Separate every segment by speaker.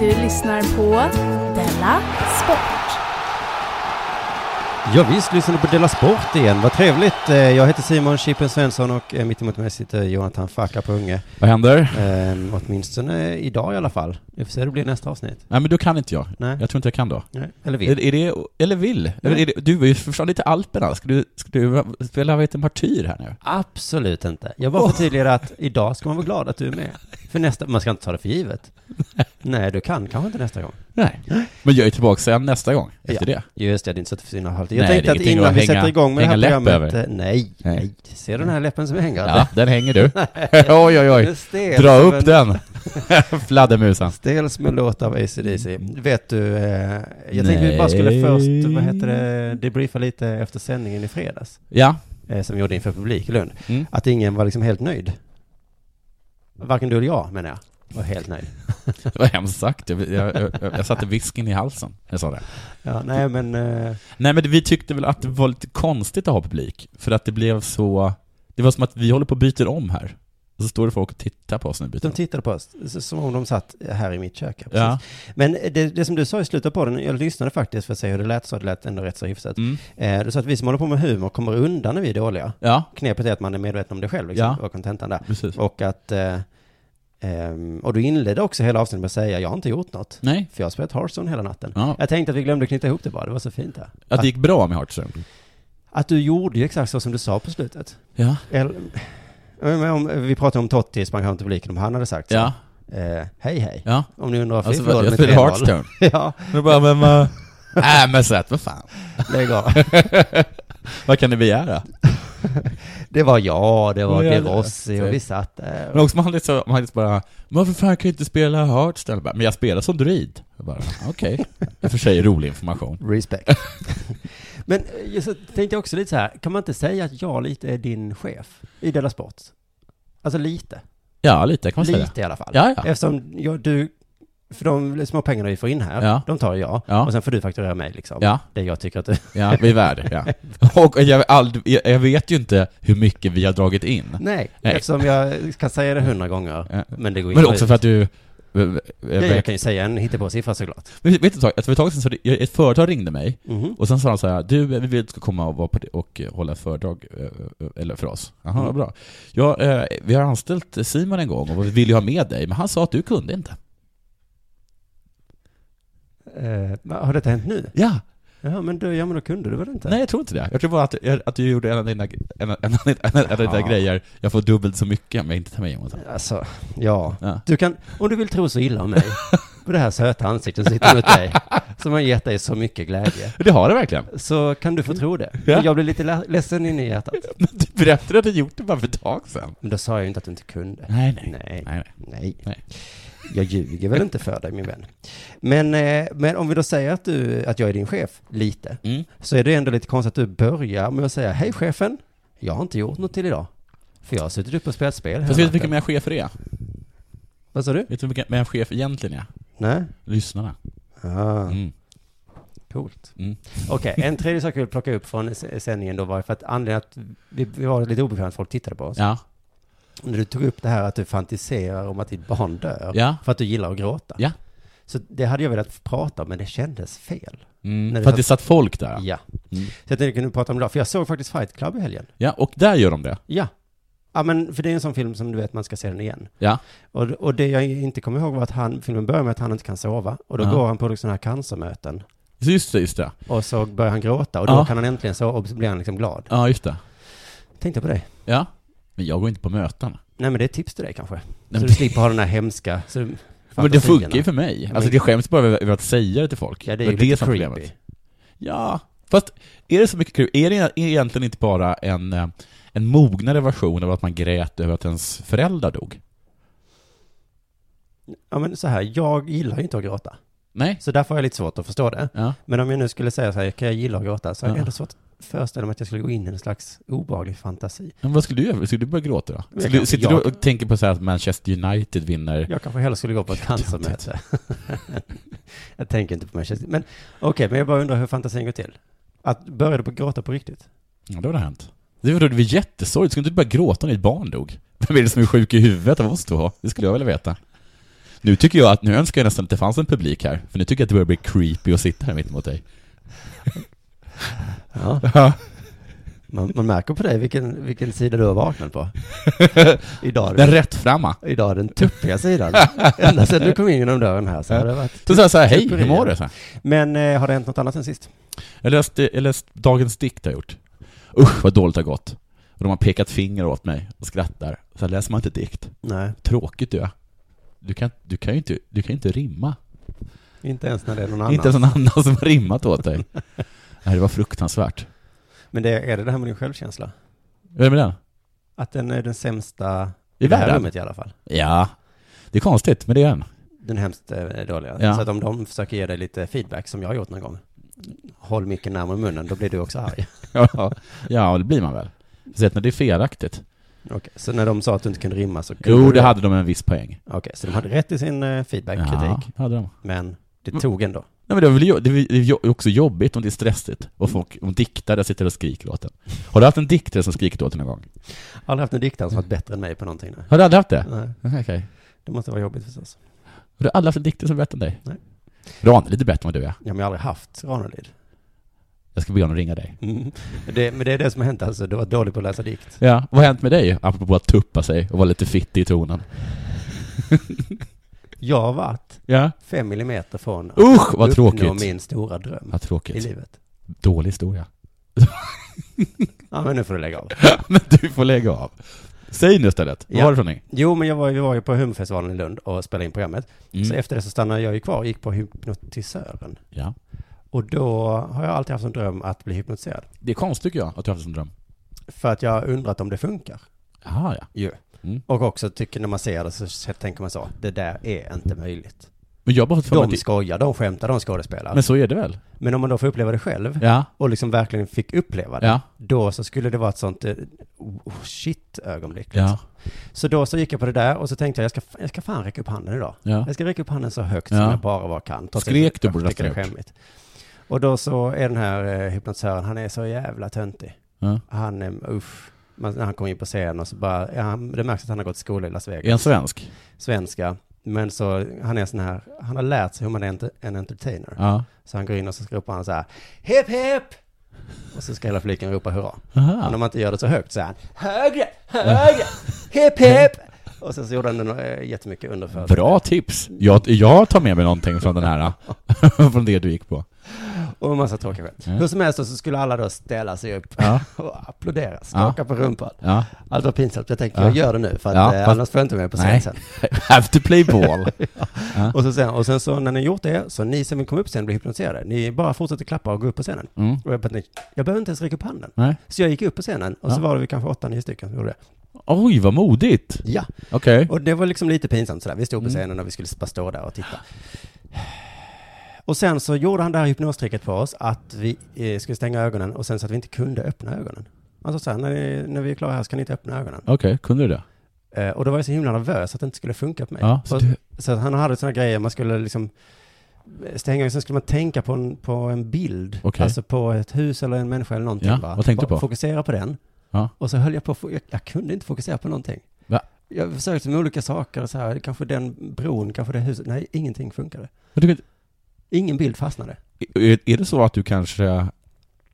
Speaker 1: Du lyssnar på Della Sport.
Speaker 2: Ja, visst lyssnar du på Della Sport igen. Vad trevligt. Eh, Jag heter Simon Chippen Svensson och eh, mitt emot mig sitter Jonathan Facka på Unge.
Speaker 3: Vad händer?
Speaker 2: Ehm, åtminstone eh, idag i alla fall. Vi får se hur det blir nästa avsnitt.
Speaker 3: Nej men då kan inte jag.
Speaker 2: Nej.
Speaker 3: Jag tror inte jag kan då.
Speaker 2: Nej. Eller vi.
Speaker 3: Är, är det, eller vill? Eller är det, du är ju för fan lite Alperna. Ska du, ska du spela vad heter martyr här nu?
Speaker 2: Absolut inte. Jag bara förtydligar att idag ska man vara glad att du är med. För nästa, man ska inte ta det för givet. Nej, du kan kanske inte nästa gång.
Speaker 3: Nej. Men jag är tillbaka sen nästa gång, efter det.
Speaker 2: Just det, det är inte så att det försvinner halvt. Jag
Speaker 3: Nej, det
Speaker 2: tänkte
Speaker 3: är
Speaker 2: att
Speaker 3: ingenting
Speaker 2: innan
Speaker 3: att
Speaker 2: vi
Speaker 3: hänga-
Speaker 2: sätter igång med det här
Speaker 3: hänga läpp
Speaker 2: programmet...
Speaker 3: över.
Speaker 2: eh, Nej,
Speaker 3: Nej.
Speaker 2: nej. Ser du den här läppen som hänger?
Speaker 3: Ja, den hänger du. oj, oj, oj.
Speaker 2: Stel
Speaker 3: Dra
Speaker 2: som
Speaker 3: upp den. Fladdermusan.
Speaker 2: Stel som en låt av AC/DC. Vet du, eh, jag tänkte vi
Speaker 3: Mm. Nej.
Speaker 2: bara skulle först, vad heter det, debriefa lite efter sändningen i fredags,
Speaker 3: Ja.
Speaker 2: eh, som vi gjorde inför publik i Lund.
Speaker 3: Mm.
Speaker 2: Att ingen var liksom helt nöjd. Varken du eller jag, menar jag, var helt nöjd.
Speaker 3: Det var hemskt sagt. Jag, jag, jag, jag satte visken i halsen. när Jag sa det.
Speaker 2: Ja, nej men, eh,
Speaker 3: Nej men vi tyckte väl att det var lite konstigt att ha publik. För att det blev så... Det var som att vi håller på och byter om här. Och så står det folk och tittar på oss när vi byter
Speaker 2: de
Speaker 3: om.
Speaker 2: tittade på oss så- som om de satt här i mitt kök. precis.
Speaker 3: Ja.
Speaker 2: Men det, det som du sa i slutet på den, jag lyssnade faktiskt för att se hur det lät, så det lät ändå rätt så hyfsat.
Speaker 3: Mm.
Speaker 2: Eh, du sa att vi som håller på med humor kommer undan när vi är dåliga.
Speaker 3: Ja,
Speaker 2: Knepet är att man är medveten om det själv, liksom,
Speaker 3: Ja.
Speaker 2: ja. och kontentan där.
Speaker 3: precis.
Speaker 2: Och att... Eh, ehm, och du inledde också hela avsnittet med att säga, jag har inte gjort något.
Speaker 3: Nej.
Speaker 2: För jag har spelat Hearthstone hela natten.
Speaker 3: Ja.
Speaker 2: Jag tänkte att vi glömde knyta ihop det bara, det var så fint där.
Speaker 3: Att det gick bra med Hearthstone.
Speaker 2: Att du gjorde ju exakt så som du sa på slutet.
Speaker 3: Ja.
Speaker 2: Eller, jag menar, om, vi pratade om Totti, sprang fram till publiken, om han hade sagt
Speaker 3: Ja.
Speaker 2: så. Eh, hej hej.
Speaker 3: Ja.
Speaker 2: Om ni undrar varför
Speaker 3: Alltså,
Speaker 2: vi förlorade
Speaker 3: jag
Speaker 2: med
Speaker 3: spelade
Speaker 2: 3-0.
Speaker 3: Hearthstone.
Speaker 2: ja,
Speaker 3: Nu bara, men eh, vad... Nej men så att, vad fan.
Speaker 2: lägg av.
Speaker 3: Vad kan ni begära?
Speaker 2: Det var jag, det var
Speaker 3: Ja,
Speaker 2: De
Speaker 3: det-
Speaker 2: Rossi och vi satt där.
Speaker 3: Men också man hade så, man hade så bara, men varför fan kan jag inte spela Hearthstone? Jag bara, Men jag spelar som druid. Jag bara, okej. I och för sig rolig information.
Speaker 2: Respect. Men eh, just, så tänkte jag också lite så här, kan man inte säga att jag lite är din chef i Della Sport? Alltså lite.
Speaker 3: Ja, lite kan man säga.
Speaker 2: Lite i alla fall.
Speaker 3: Ja, ja.
Speaker 2: Eftersom jag, du, för de små pengarna vi får in här,
Speaker 3: Ja.
Speaker 2: de tar jag.
Speaker 3: Ja.
Speaker 2: Och sen får du fakturera mig liksom.
Speaker 3: Ja,
Speaker 2: Det jag tycker att du...
Speaker 3: ja, vi är värd. Ja. Och jag, ald- jag- jag vet ju inte hur mycket vi har dragit in.
Speaker 2: Nej,
Speaker 3: Nej.
Speaker 2: eftersom jag kan säga det hundra gånger.
Speaker 3: Ja.
Speaker 2: Men det går
Speaker 3: Men
Speaker 2: in-
Speaker 3: också för att du... eh,
Speaker 2: Ja, jag kan ju säga en hittepåsiffra såklart.
Speaker 3: Men Vet du, ett tag- för ett tag sedan så det- ett företag ringde mig
Speaker 2: Mhm.
Speaker 3: och sen sa de så här, du, vi vill att du ska komma och, vara på det och eh, hålla föredrag eh, eh, eller för oss. Jaha, vad bra. Ja, eh, vi har anställt Simon en gång och vi ville ju ha med dig, men han sa att du kunde inte.
Speaker 2: Eh, men har detta hänt nu?
Speaker 3: Ja,
Speaker 2: Ja, men, du, ja, men då kunde du väl inte?
Speaker 3: nej jag tror inte det. Jag tror bara att, jag- att du gjorde en av dina, en, en, en, en, en av dina
Speaker 2: Jaha.
Speaker 3: grejer, jag får dubbelt så mycket om jag inte tar med Jonathan.
Speaker 2: Alltså, ja.
Speaker 3: Ja.
Speaker 2: Du kan, om du vill tro så illa om mig, på det här söta ansiktet som sitter mot dig, som har gett dig så mycket glädje,
Speaker 3: Det har det verkligen.
Speaker 2: så kan du få tro det.
Speaker 3: Ja.
Speaker 2: Men Jag blir lite le- ledsen inne i hjärtat.
Speaker 3: Men Du berättade att du gjort det bara för ett tag sedan.
Speaker 2: Men då sa jag ju inte att du inte kunde.
Speaker 3: Nej,
Speaker 2: Nej.
Speaker 3: nej, nej.
Speaker 2: Nej.
Speaker 3: Nej.
Speaker 2: Jag ljuger väl inte för dig, min vän. Men, eh, men om vi då säger att, du, att jag är din chef, lite,
Speaker 3: Mm.
Speaker 2: så är det ändå lite konstigt att du börjar med att säga Hej chefen, jag har inte gjort något till idag. För jag har suttit uppe och spelat spel hela
Speaker 3: Fast vet du
Speaker 2: natten."
Speaker 3: vilka mina chefer är?
Speaker 2: Vad sa du?
Speaker 3: Vet du vilka mina chef egentligen är?
Speaker 2: Nej?
Speaker 3: Lyssnarna.
Speaker 2: Ah.
Speaker 3: Mm.
Speaker 2: Coolt.
Speaker 3: Mm.
Speaker 2: Okej, en tredje sak jag vill plocka upp från s- sändningen då var för att anledningen att vi, vi var lite obekvämt, folk tittade på oss.
Speaker 3: Ja.
Speaker 2: När du tog upp det här att du fantiserar om att ditt barn dör
Speaker 3: Ja.
Speaker 2: för att du gillar att gråta.
Speaker 3: Ja.
Speaker 2: Så det hade jag velat prata om, men det kändes fel. När det
Speaker 3: Mm. För att
Speaker 2: satt-
Speaker 3: det satt folk där?
Speaker 2: Ja.
Speaker 3: Mm.
Speaker 2: Så jag tänkte kunde prata om det, för jag såg faktiskt Fight Club i helgen.
Speaker 3: Ja, och där gör de det?
Speaker 2: Ja. Ja men, för det är en sån film som du vet, man ska se den igen.
Speaker 3: Ja.
Speaker 2: Och, och det jag inte kommer ihåg var att han, filmen börjar med att han inte kan sova. Och då
Speaker 3: Ja.
Speaker 2: går han på sådana här cancermöten.
Speaker 3: Så Just det, just det.
Speaker 2: Och så börjar han gråta och då
Speaker 3: Ja.
Speaker 2: kan han äntligen sova och så blir han liksom glad.
Speaker 3: Ja, just det.
Speaker 2: Tänkte på det.
Speaker 3: Ja. Men jag går inte på möten.
Speaker 2: Nej men det är ett tips till dig kanske.
Speaker 3: Nej,
Speaker 2: så
Speaker 3: men-
Speaker 2: du slipper ha den här hemska så,
Speaker 3: Men det
Speaker 2: fantasierna.
Speaker 3: funkar ju för mig. Alltså
Speaker 2: Men-
Speaker 3: det skäms bara över över att säga det till folk.
Speaker 2: Ja det är ju lite creepy.
Speaker 3: Ja, fast är det så mycket kul? Är det är det egentligen inte bara en, eh, en mognare version av att man grät över att ens föräldrar dog?
Speaker 2: Ja men så här, jag gillar ju inte att gråta.
Speaker 3: Nej?
Speaker 2: Så därför har jag lite svårt att förstå det.
Speaker 3: Ja.
Speaker 2: Men om jag nu skulle säga så här, kan jag gilla att gråta? Så har jag
Speaker 3: Ja.
Speaker 2: ändå svårt att föreställa mig att jag skulle gå in i en slags obehaglig fantasi.
Speaker 3: Men vad skulle du göra? Skulle du börja gråta då?
Speaker 2: Jag
Speaker 3: Skulle,
Speaker 2: kan-
Speaker 3: sitter
Speaker 2: jag-
Speaker 3: du och tänker på så här att Manchester United vinner?
Speaker 2: Jag kanske hellre skulle gå på ett cancermöte. jag tänker inte på Manchester. Men okej, men jag bara undrar hur fantasin går till. Att börja du på att gråta på riktigt?
Speaker 3: Ja, då har det hänt. Det var, det var jättesorgligt. Skulle du inte börja gråta när ditt barn dog? Vem är det som är sjuk i huvudet av oss då? Det skulle jag vilja veta. Nu tycker jag att, nu önskar jag nästan att det fanns en publik här, för nu tycker jag att det börjar bli creepy att sitta här mitt emot dig.
Speaker 2: Ja. Man, man märker på dig vilken, vilken sida du har vaknat på. Idag är
Speaker 3: Den
Speaker 2: det,
Speaker 3: rättframma.
Speaker 2: idag är det den tuppiga sidan. Ända sedan du kom in genom dörren här så har det varit.
Speaker 3: Så sa jag så här, hej, hur mår du? Så här.
Speaker 2: Men eh, har det hänt något annat sen sist?
Speaker 3: Jag läste, jag läste Dagens dikt har jag gjort. Usch vad dåligt det har gått. Och de har pekat finger åt mig och skrattar. Så läser man inte dikt.
Speaker 2: Nej,
Speaker 3: Tråkigt du är. Du kan, du kan ju inte, du kan ju inte rimma.
Speaker 2: inte ens när det är någon annan.
Speaker 3: Inte ens någon annan som har rimmat åt dig. Nej, det var fruktansvärt.
Speaker 2: Men det, är det det här med din självkänsla?
Speaker 3: Vem är den?
Speaker 2: Att den är den sämsta
Speaker 3: I
Speaker 2: det här
Speaker 3: världen?
Speaker 2: rummet i alla fall.
Speaker 3: Ja. Det är konstigt, men det är den.
Speaker 2: Den hemskt eh, dåliga.
Speaker 3: Ja.
Speaker 2: Så att om de försöker ge dig lite feedback som jag har gjort någon gång. Håll micken närmare munnen, då blir du också arg.
Speaker 3: Ja, ja det blir man väl. Speciellt när det är felaktigt.
Speaker 2: Okej, Så när de sa att du inte kunde rimma så kunde
Speaker 3: Jo,
Speaker 2: du
Speaker 3: det hade de en viss poäng.
Speaker 2: Okej, så de hade rätt i sin eh, feedback, kritik.
Speaker 3: Ja, hade de.
Speaker 2: Men det
Speaker 3: Mm.
Speaker 2: tog ändå.
Speaker 3: Nej, men det är väl jo- det är ju också jobbigt om det är stressigt och folk, om diktare sitter och skriker åt en. Har du haft en diktare som skrikit åt dig någon gång?
Speaker 2: Jag har aldrig haft en diktare som varit bättre än mig på någonting. Nej.
Speaker 3: Har du aldrig haft det?
Speaker 2: Nej,
Speaker 3: Okej.
Speaker 2: det måste vara jobbigt förstås.
Speaker 3: Har du aldrig haft en diktare som är bättre än dig?
Speaker 2: Nej.
Speaker 3: Ran, lite bättre än vad du är.
Speaker 2: Ja, men jag har aldrig haft Ranelid.
Speaker 3: Jag ska be honom ringa dig.
Speaker 2: Mm. Det, men det är det som har hänt alltså, du var dålig på att läsa dikt.
Speaker 3: Ja, vad har hänt med dig? Apropå att tuppa sig och vara lite fittig i tonen.
Speaker 2: Jag har varit
Speaker 3: Ja.
Speaker 2: fem millimeter från att
Speaker 3: Usch, vad
Speaker 2: uppnå
Speaker 3: tråkigt.
Speaker 2: min stora dröm
Speaker 3: Vad
Speaker 2: i
Speaker 3: tråkigt.
Speaker 2: livet.
Speaker 3: Dålig historia.
Speaker 2: Ja, men nu får du lägga av.
Speaker 3: men du får lägga av. Säg nu istället. Vad
Speaker 2: Ja.
Speaker 3: var det för någonting?
Speaker 2: Jo, men jag var, vi var ju på Humorfestivalen i Lund och spelade in programmet. Så
Speaker 3: Mm.
Speaker 2: efter det så stannade jag ju kvar och gick på hypnotisören.
Speaker 3: Ja.
Speaker 2: Och då har jag alltid haft en dröm att bli hypnotiserad.
Speaker 3: Det är konstigt tycker jag, att du har haft en sån dröm.
Speaker 2: För att jag har undrat om det funkar.
Speaker 3: Jaha, ja.
Speaker 2: Ju.
Speaker 3: Mm.
Speaker 2: Och också tycker när man ser det så så tänker man så, det där är inte möjligt.
Speaker 3: Men jag har bara fått för mig att
Speaker 2: De
Speaker 3: det-
Speaker 2: skojar, de skämtar, de skådespelar. Men,
Speaker 3: Men så är det väl?
Speaker 2: om man då får uppleva det själv
Speaker 3: Ja.
Speaker 2: och liksom verkligen fick uppleva det,
Speaker 3: Ja.
Speaker 2: då så skulle det vara ett sånt eh, oh, shit-ögonblick. liksom.
Speaker 3: Ja.
Speaker 2: Så då så gick jag på det där och så tänkte jag, jag ska, jag ska fan räcka upp handen idag.
Speaker 3: ja.
Speaker 2: Jag ska räcka upp handen så högt
Speaker 3: Ja.
Speaker 2: som jag bara var kan. trots att
Speaker 3: Skrek
Speaker 2: jag
Speaker 3: du på det
Speaker 2: tycker det är
Speaker 3: där
Speaker 2: skämmigt. Och då så är den här eh, hypnotisören, han är så jävla töntig.
Speaker 3: ja.
Speaker 2: Han är, usch. Man, när han kommer in på scenen och så bara, ja, han, det märks att han har gått skola i Las Vegas.
Speaker 3: Är han svensk?
Speaker 2: Svenska. Men så, han är sån här, han har lärt sig hur man är ent- en entertainer.
Speaker 3: Ja.
Speaker 2: Så han går in och så ropar han så här, hipp hipp! Och så ska hela fliken ropa hurra. Men
Speaker 3: Aha.
Speaker 2: om man inte gör det så högt så är han, högre, högre, hipp hipp! Och sen så gjorde han den, eh, jättemycket under för
Speaker 3: Bra tips! Jag, jag tar med mig någonting från den här, från det du gick på.
Speaker 2: Och en massa tråkiga skämt.
Speaker 3: Ja.
Speaker 2: Hur som helst då så skulle alla då ställa sig upp
Speaker 3: Ja.
Speaker 2: och applådera, skaka på rumpan.
Speaker 3: Ja.
Speaker 2: Allt var pinsamt. Jag tänkte,
Speaker 3: Ja.
Speaker 2: jag gör det nu för att
Speaker 3: Ja,
Speaker 2: eh,
Speaker 3: fast-
Speaker 2: annars får jag inte vara med på scen
Speaker 3: Nej.
Speaker 2: sen.
Speaker 3: Have to play ball.
Speaker 2: Och, så sen. och sen så när ni gjort det, så ni som vill komma upp sen blir hypnotiserade. Ni bara fortsätter klappa och gå upp på scenen.
Speaker 3: Mm.
Speaker 2: Och jag, bara tänkte, jag behöver inte ens räcka upp handen.
Speaker 3: Nej.
Speaker 2: Så jag gick upp på scenen och så
Speaker 3: Ja.
Speaker 2: var det vi kanske åtta, nio stycken som gjorde det.
Speaker 3: Oj, vad modigt!
Speaker 2: Ja,
Speaker 3: Okej.
Speaker 2: och det var liksom lite pinsamt sådär. Vi stod på
Speaker 3: Mm.
Speaker 2: scenen och vi skulle bara stå där och titta. Och sen så gjorde han det här hypnostricket på oss att vi eh, skulle stänga ögonen och sen så att vi inte kunde öppna ögonen. Han sa så här, när, ni, när vi är klara här ska ni inte öppna ögonen.
Speaker 3: Okej, kunde du det?
Speaker 2: Eh, och då var jag så himla nervös att det inte skulle funka på mig.
Speaker 3: Ja, så
Speaker 2: och,
Speaker 3: du,
Speaker 2: så att han hade sådana grejer, man skulle liksom stänga ögonen, sen skulle man tänka på en, på en bild.
Speaker 3: Okej.
Speaker 2: Alltså på ett hus eller en människa eller någonting.
Speaker 3: Ja,
Speaker 2: va?
Speaker 3: vad tänkte du
Speaker 2: Bara
Speaker 3: på?
Speaker 2: Fokusera på den.
Speaker 3: Ja.
Speaker 2: Och så höll jag på, att fo- jag, jag kunde inte fokusera på någonting.
Speaker 3: Va?
Speaker 2: Jag försökte med olika saker, så här, kanske den bron, kanske det huset. Nej, ingenting funkade.
Speaker 3: Men du vet,
Speaker 2: Ingen bild fastnade.
Speaker 3: är, är det så att du kanske...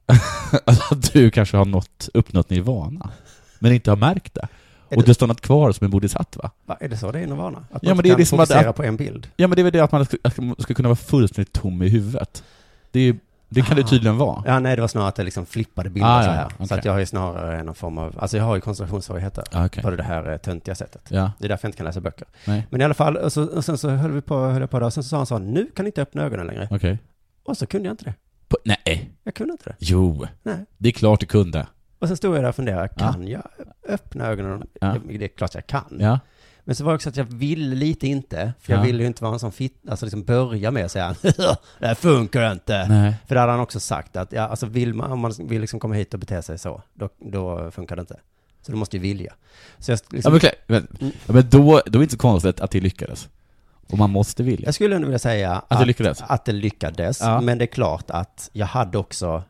Speaker 3: alltså att du kanske har nått, uppnått nirvana, men inte har märkt det?
Speaker 2: Är
Speaker 3: Och
Speaker 2: det-
Speaker 3: det har stannat kvar som en bodhisattva?
Speaker 2: Va, är det så det är nirvana? Att man
Speaker 3: Ja, men
Speaker 2: inte
Speaker 3: det är
Speaker 2: kan
Speaker 3: liksom att-
Speaker 2: fokusera på en bild?
Speaker 3: Ja, men det är väl det att man ska, att man ska kunna vara fullständigt tom i huvudet. Det, är, det kan det
Speaker 2: Ah.
Speaker 3: tydligen vara.
Speaker 2: Ja, nej, det var snarare att det liksom flippade bilder
Speaker 3: Ah,
Speaker 2: så
Speaker 3: ja,
Speaker 2: här.
Speaker 3: ja,
Speaker 2: Så
Speaker 3: okej.
Speaker 2: att jag har ju snarare någon form av, alltså jag har ju koncentrationssvårigheter
Speaker 3: Ja, Ah, okej.
Speaker 2: på det här eh, töntiga sättet.
Speaker 3: Ja,
Speaker 2: Det är därför jag inte kan läsa böcker.
Speaker 3: nej,
Speaker 2: Men i alla fall, och, så, och sen så höll vi på, höll jag på där, och sen så sa han så här, nu kan ni inte öppna ögonen längre.
Speaker 3: okej.
Speaker 2: Och så kunde jag inte det.
Speaker 3: På- Nej,
Speaker 2: Jag kunde inte det.
Speaker 3: jo.
Speaker 2: Nej.
Speaker 3: Det är klart du kunde.
Speaker 2: Och sen stod jag där och funderade, kan jag öppna ögonen?
Speaker 3: Ja.
Speaker 2: Det är klart jag kan.
Speaker 3: Ja.
Speaker 2: Men så var det också att jag ville lite inte, för jag
Speaker 3: Ja.
Speaker 2: ville ju inte vara en sån fitt, alltså liksom börja med att säga, det här funkar inte.
Speaker 3: Nej.
Speaker 2: För det hade han också sagt att, ja, alltså vill man, om man vill liksom komma hit och bete sig så, då, då funkar det inte. Så du måste ju vilja. Så jag,
Speaker 3: Ja,
Speaker 2: liksom,
Speaker 3: men, klart- men, ja, men då, då är det inte så konstigt att det lyckades. Och man måste vilja.
Speaker 2: jag skulle ändå vilja säga att,
Speaker 3: det lyckades?
Speaker 2: Att det lyckades,
Speaker 3: Ja.
Speaker 2: men det är klart att jag hade också,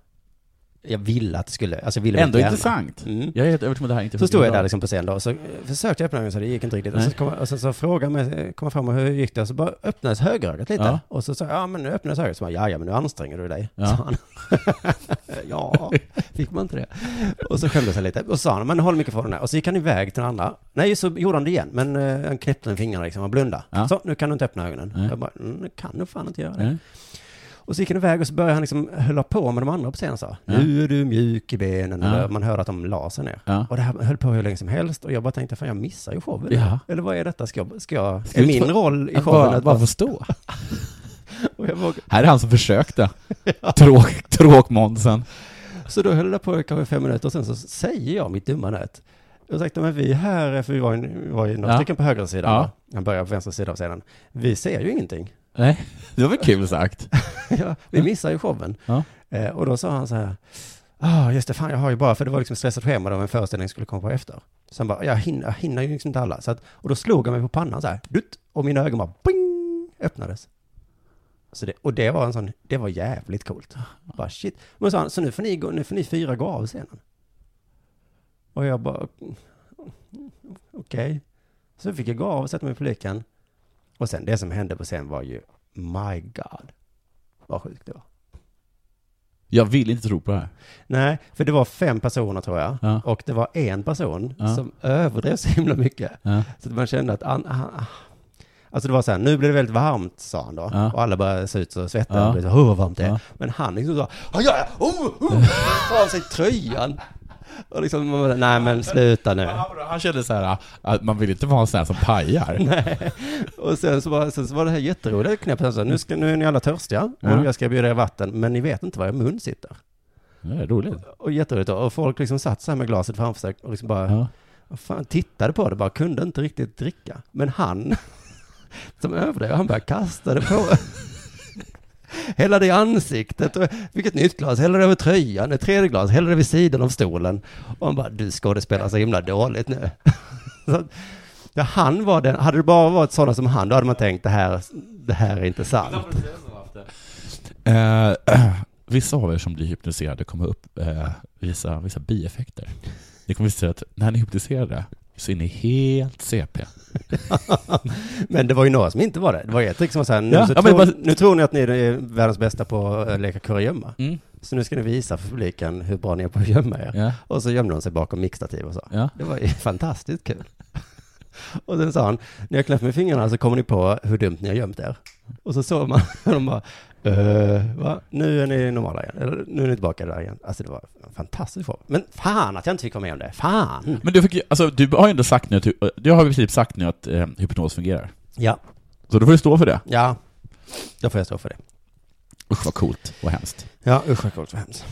Speaker 2: jag ville att det skulle, alltså jag ville
Speaker 3: Ändå
Speaker 2: väldigt
Speaker 3: intressant.
Speaker 2: gärna. Mm.
Speaker 3: Jag är helt övertygad om att det här inte
Speaker 2: Så stod jag
Speaker 3: bra.
Speaker 2: där liksom på scen då, och så eh, försökte jag öppna ögonen så det gick inte riktigt. Och så,
Speaker 3: Nej.
Speaker 2: kom, och sen så frågade jag mig, eh, kom jag fram och hur gick det? Och så bara öppnades högerögat lite.
Speaker 3: Ja.
Speaker 2: Och så sa jag, ja men nu öppnades högret. Så bara, ja ja men nu anstränger du dig.
Speaker 3: Ja.
Speaker 2: Sa han. ja, fick man inte det? Och så skämdes jag lite. Och så sa han, men håll mikrofonen här. Och så gick han iväg till den andra. Nej, så gjorde han det igen. Men eh, han knäppte med fingrarna liksom och blundade.
Speaker 3: Ja.
Speaker 2: Så, nu kan du inte öppna ögonen.
Speaker 3: Nej.
Speaker 2: Jag bara, mm, nu kan du fan inte göra det.
Speaker 3: Nej.
Speaker 2: Och så gick han iväg och så började han liksom hölla på med de andra på scenen så. Nu är du mjuk i benen.
Speaker 3: Ja.
Speaker 2: Eller man hörde att de la sig ner.
Speaker 3: Ja.
Speaker 2: Och det här höll på hur länge som helst. Och jag bara tänkte, fan jag missar ju showen.
Speaker 3: Ja.
Speaker 2: Eller vad är detta? Ska jag, ska jag,
Speaker 3: Ska
Speaker 2: är
Speaker 3: vi
Speaker 2: min
Speaker 3: inte få-
Speaker 2: roll i
Speaker 3: Att
Speaker 2: showen
Speaker 3: bara,
Speaker 2: att
Speaker 3: bara förstå.
Speaker 2: och jag vågar-
Speaker 3: Här är han som försökte. Tråk, tråkmånsen.
Speaker 2: Så då höll jag på i kanske fem minuter och sen så säger jag mitt dumma nöt. Ursäkta, men vi här, är- för vi var ju, vi var ju några
Speaker 3: Ja.
Speaker 2: stycken på höger sida.
Speaker 3: Ja.
Speaker 2: va? Han börjar på vänster sida av scenen. Vi ser ju ingenting.
Speaker 3: Nej, det var väl kul sagt.
Speaker 2: ja, vi missar ju showen.
Speaker 3: Ja.
Speaker 2: Eh, och då sa han så här, ah, just det, fan jag har ju bara, för det var liksom stressat schema då, en föreställning skulle komma på efter. Så han bara, jag hinner, jag hinner ju liksom inte alla. Så att, och då slog han mig på pannan så här, dutt, och mina ögon bara, bing, öppnades. Så det, och det var en sån, det var jävligt coolt. Bara shit. Men så, han, så nu får ni, gå, nu får ni fyra gå av scenen. Och jag bara, okej. Så fick jag gå av och sätta mig i publiken. Och sen det som hände på scen var ju, my god, vad sjukt det var.
Speaker 3: Jag vill inte tro på det här.
Speaker 2: Nej, för det var fem personer tror jag.
Speaker 3: Ja.
Speaker 2: Och det var en person
Speaker 3: Ja.
Speaker 2: som överdrev så himla mycket.
Speaker 3: Ja.
Speaker 2: Så att man kände att han, han, Alltså det var så här, nu blir det väldigt varmt, sa han då.
Speaker 3: Ja.
Speaker 2: Och alla började se ut och svetta.
Speaker 3: Ja.
Speaker 2: Och blev så, "Åh, vad varmt det är.
Speaker 3: Ja.
Speaker 2: Men han liksom sa, ja, ja, oh, oh, tar av sig tröjan. Och liksom, man bara, nej men sluta nu.
Speaker 3: Han kände så här att man vill inte vara en sån här som pajar.
Speaker 2: Och sen så var, sen så var det här jätteroliga knäppet. Han sa, nu, ska, nu är ni alla törstiga.
Speaker 3: Ja.
Speaker 2: Och jag ska bjuda er vatten, men ni vet inte var er mun sitter.
Speaker 3: Det är roligt.
Speaker 2: Och jätteroligt då. Och folk liksom satt så här med glaset framför sig och liksom bara,
Speaker 3: Ja.
Speaker 2: Vad fan, tittade på det bara, kunde inte riktigt dricka. Men han, som överdrev, han bara kastade på. Hällde det i ansiktet, och fick ett nytt glas, hällde det över tröjan, ett tredje glas, hällde det vid sidan av stolen. Och han bara, du skådespelar så himla dåligt nu. Så, att, ja, han var den, hade det bara varit sådana som han, då hade man tänkt det här, det här är inte sant.
Speaker 3: Eh, vissa av er som blir hypnotiserade kommer upp eh, vissa, vissa bieffekter. Det kommer visa sig att när ni är hypnotiserade så är ni helt CP.
Speaker 2: Men det var ju några som inte var det. Det var ju ett trick som var så här, nu,
Speaker 3: Ja,
Speaker 2: så
Speaker 3: ja, men
Speaker 2: tror,
Speaker 3: bara-
Speaker 2: nu tror ni att ni är eh, världens bästa på att eh, leka kurragömma.
Speaker 3: Mm.
Speaker 2: Så nu ska ni visa för publiken hur bra ni är på att gömma er.
Speaker 3: Ja.
Speaker 2: Och så gömde de sig bakom mixtativ och så.
Speaker 3: Ja.
Speaker 2: Det var ju fantastiskt kul. Och sen sa han, när jag knäppt med fingrarna så kommer ni på hur dumt ni har gömt er. Och så såg man, och de bara, eh, va? Nu är ni normala igen. Eller nu är ni tillbaka där igen. Alltså det var en fantastisk show. Men fan att jag inte fick vara med om det. Fan!
Speaker 3: Men du, fick, ju- alltså, du har ju ändå sagt nu att, du- du har i princip sagt nu att eh, hypnos fungerar.
Speaker 2: Ja,
Speaker 3: Så då får du stå för det.
Speaker 2: ja. Då får jag stå för det.
Speaker 3: Usch vad coolt och hemskt.
Speaker 2: Ja, usch vad coolt och hemskt.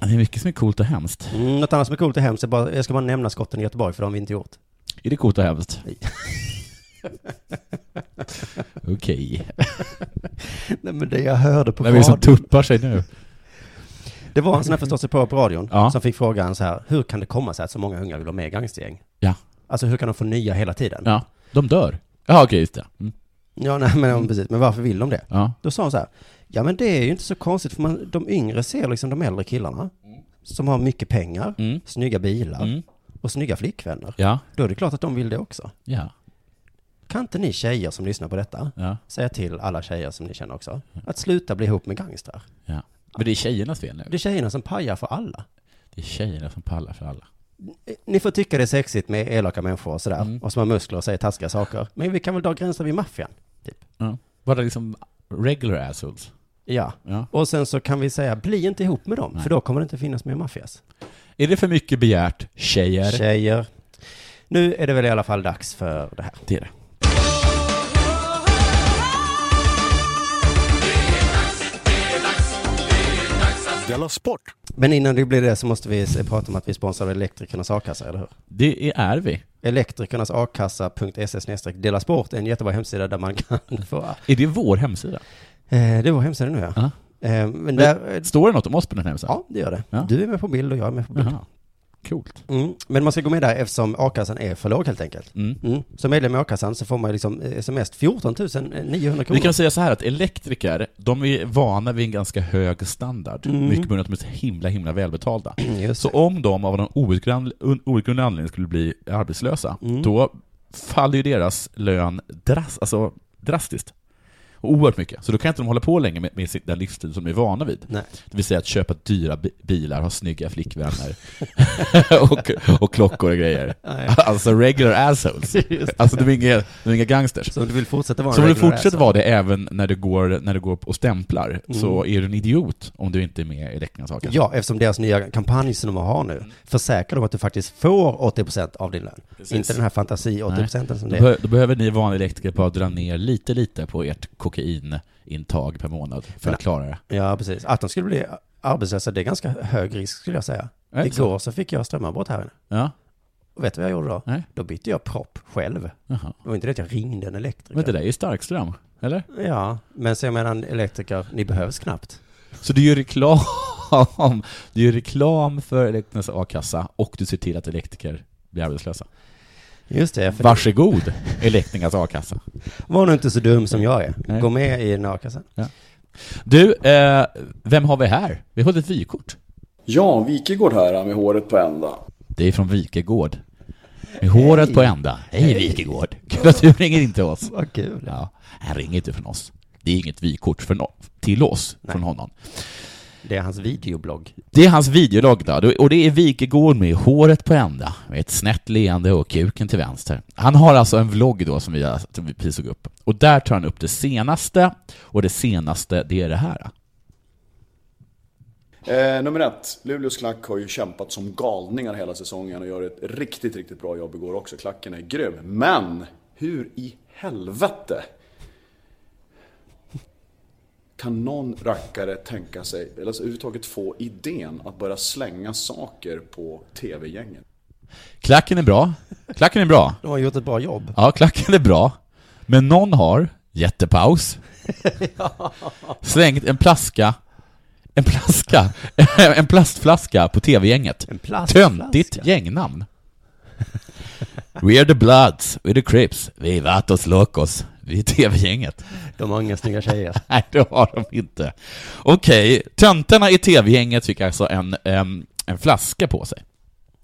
Speaker 3: Det är mycket som är coolt och hemskt.
Speaker 2: Mm, något annat som är coolt och hemskt, är bara, jag ska bara nämna skotten i Göteborg, för de har vi inte gjort.
Speaker 3: Är det coolt och hemskt?
Speaker 2: Nej.
Speaker 3: Okej.
Speaker 2: Nej men det jag hörde på
Speaker 3: Vem är liksom det som tuppar sig nu?
Speaker 2: Det var en sån här förståsigpåare på radion
Speaker 3: Ja.
Speaker 2: som fick frågan så här, hur kan det komma sig att så många unga vill vara med i gangstergäng?
Speaker 3: Ja.
Speaker 2: Alltså hur kan de få nya hela tiden?
Speaker 3: Ja, de dör. Ja, okej, just det. Mm.
Speaker 2: Ja, nej, men ja, precis. Men varför vill de det?
Speaker 3: Ja.
Speaker 2: Då sa hon så här, ja men det är ju inte så konstigt för man, de yngre ser liksom de äldre killarna som har mycket pengar,
Speaker 3: Mm.
Speaker 2: snygga bilar,
Speaker 3: Mm.
Speaker 2: och snygga flickvänner,
Speaker 3: Ja,
Speaker 2: då är det klart att de vill det också.
Speaker 3: ja,
Speaker 2: Kan inte ni tjejer som lyssnar på detta
Speaker 3: ja.
Speaker 2: säga till alla tjejer som ni känner också att sluta bli ihop med gangstrar?
Speaker 3: ja. Men det är tjejernas fel nu.
Speaker 2: Det är tjejerna som pajar för alla. Eh,
Speaker 3: Det är tjejerna som pallar för alla.
Speaker 2: Ni får tycka det är sexigt med elaka människor och sådär,
Speaker 3: Mm.
Speaker 2: och som har muskler och säger taskiga saker. Men vi kan väl dra gränser vid maffian? typ.
Speaker 3: Bara liksom regular assholes.
Speaker 2: Ja.
Speaker 3: Ja.
Speaker 2: Och sen så kan vi säga, bli inte ihop med dem,
Speaker 3: Nej.
Speaker 2: för då kommer det inte finnas mer maffias.
Speaker 3: Är det för mycket begärt, tjejer?
Speaker 2: Tjejer. Nu är det väl i alla fall dags för det här.
Speaker 3: Det är det.
Speaker 4: Della Sport!
Speaker 2: Men innan det blir det så måste vi se- prata om att vi sponsrar Elektrikernas A-kassa, eller hur?
Speaker 3: Det är, är vi.
Speaker 2: Elektrikernas E dela sport är en jättebra hemsida där man kan få... Eh,
Speaker 3: Är det vår hemsida?
Speaker 2: det är vår hemsida nu ja. Eh, men där... eh,
Speaker 3: Står det något om oss på den här hemsidan?
Speaker 2: Ja, det gör det.
Speaker 3: Ja.
Speaker 2: Du är med på bild och jag är med på bild.
Speaker 3: Jaha. Coolt.
Speaker 2: Mm. Men man ska gå med där eftersom a-kassan är för låg helt enkelt.
Speaker 3: Mm.
Speaker 2: Mm. Som medlem i a-kassan så får man ju liksom eh, som mest 14 900 kronor.
Speaker 3: Vi kan säga så här att elektriker, de är vana vid en ganska hög standard. Mycket på grund av att de är så himla, himla välbetalda.
Speaker 2: Mm, Just
Speaker 3: Så om de av någon outgrundlig un- outgrundlig anledning skulle bli arbetslösa, då faller ju deras lön dras- alltså, drastiskt. Och Oerhört mycket. Så då kan inte de hålla på länge med, med sin- den livsstil som de är vana vid.
Speaker 2: Nej.
Speaker 3: Det vill säga att köpa dyra bi- bilar, ha snygga flickvänner och, och klockor och grejer. Alltså regular assholes. Alltså de är inga, de är inga gangsters.
Speaker 2: Så om du vill fortsätta vara
Speaker 3: Så om
Speaker 2: en
Speaker 3: du
Speaker 2: regular
Speaker 3: fortsätter
Speaker 2: asshole.
Speaker 3: vara det även när du går, när du går och stämplar, så är du en idiot om du inte är med i Läckans a-kassa.
Speaker 2: Ja, eftersom deras nya kampanj som de har
Speaker 3: Mm.
Speaker 2: nu försäkrar de att du faktiskt får 80% av din lön. Inte den här fantasi 80% som det
Speaker 3: Då,
Speaker 2: är.
Speaker 3: behö- då behöver ni vanliga elektriker bara dra ner lite, lite på ert kokainintag per månad för att klara det.
Speaker 2: Ja, precis. Att de skulle bli arbetslösa, det är ganska hög risk skulle jag säga.
Speaker 3: Är det så?
Speaker 2: Igår så fick jag strömavbrott här inne.
Speaker 3: Ja,
Speaker 2: Och vet du vad jag gjorde då?
Speaker 3: Nej.
Speaker 2: Då bytte jag propp själv.
Speaker 3: jaha.
Speaker 2: Det var inte det att jag ringde en elektriker.
Speaker 3: Men det där är ju starkström, eller?
Speaker 2: Ja, men så jag menar en elektriker, ni behövs knappt.
Speaker 3: Så du gör reklam, du gör reklam för elektrikernas a-kassa och du ser till att elektriker blir arbetslösa.
Speaker 2: Just det, för
Speaker 3: Varsågod, elektrikernas a-kassa.
Speaker 2: var nu inte så dum som jag är.
Speaker 3: Nej.
Speaker 2: Gå med i den a-kassan.
Speaker 3: Du, eh, vem har vi här? Vi har ett vykort.
Speaker 5: Ja, Wikegård här med håret på ända.
Speaker 3: Det är från Wikegård. Med håret på ända. Hej Wikegård! Kul att du ringer in till oss.
Speaker 2: Vad kul.
Speaker 3: Ja, han ringer inte från oss. Det är inget vykort för no- till oss
Speaker 2: Nej.
Speaker 3: från honom.
Speaker 2: Det är hans videoblogg.
Speaker 3: Det är hans videologg då, och det är Wikegård med håret på ända, med ett snett leende och kuken till vänster. Han har alltså en vlogg då som vi, har- som vi precis såg upp. Och där tar han upp det senaste, och det senaste det är det här.
Speaker 5: Eh, nummer ett, Luleås klack har ju kämpat som galningar hela säsongen och gör ett riktigt, riktigt bra jobb igår också. Klacken är grym. Men, hur i helvete kan någon rackare tänka sig, eller alltså överhuvudtaget få idén att börja slänga saker på TV-gänget?
Speaker 3: Klacken är bra. Klacken är bra.
Speaker 2: De har gjort ett bra jobb.
Speaker 3: Ja, klacken är bra. Men någon har, jättepaus, slängt en plaska, en plaska, en plastflaska på TV-gänget.
Speaker 2: En plastflaska.
Speaker 3: Töntigt gängnamn. We are the Bloods, we are the Crips, vi är Vatos Locos, vi är TV-gänget.
Speaker 2: De har inga snygga tjejer.
Speaker 3: Nej, det har de inte. Okej, töntarna i TV-gänget fick alltså en, em, en flaska på sig.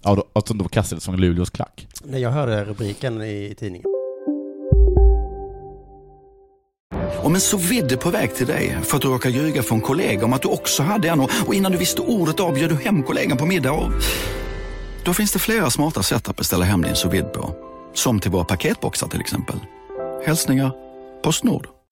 Speaker 3: Ja, då- alltså, och som då kastades från Luleås klack.
Speaker 2: När jag hörde rubriken i tidningen.
Speaker 6: Om en så vidde på väg till dig för att du råkar ljuga från kollega om att du också hade en och och innan du visste ordet av bjöd du hem kollegan på middag och... Då finns det flera smarta sätt att beställa hem din sous vide på. Som till våra paketboxar till exempel. Hälsningar Postnord.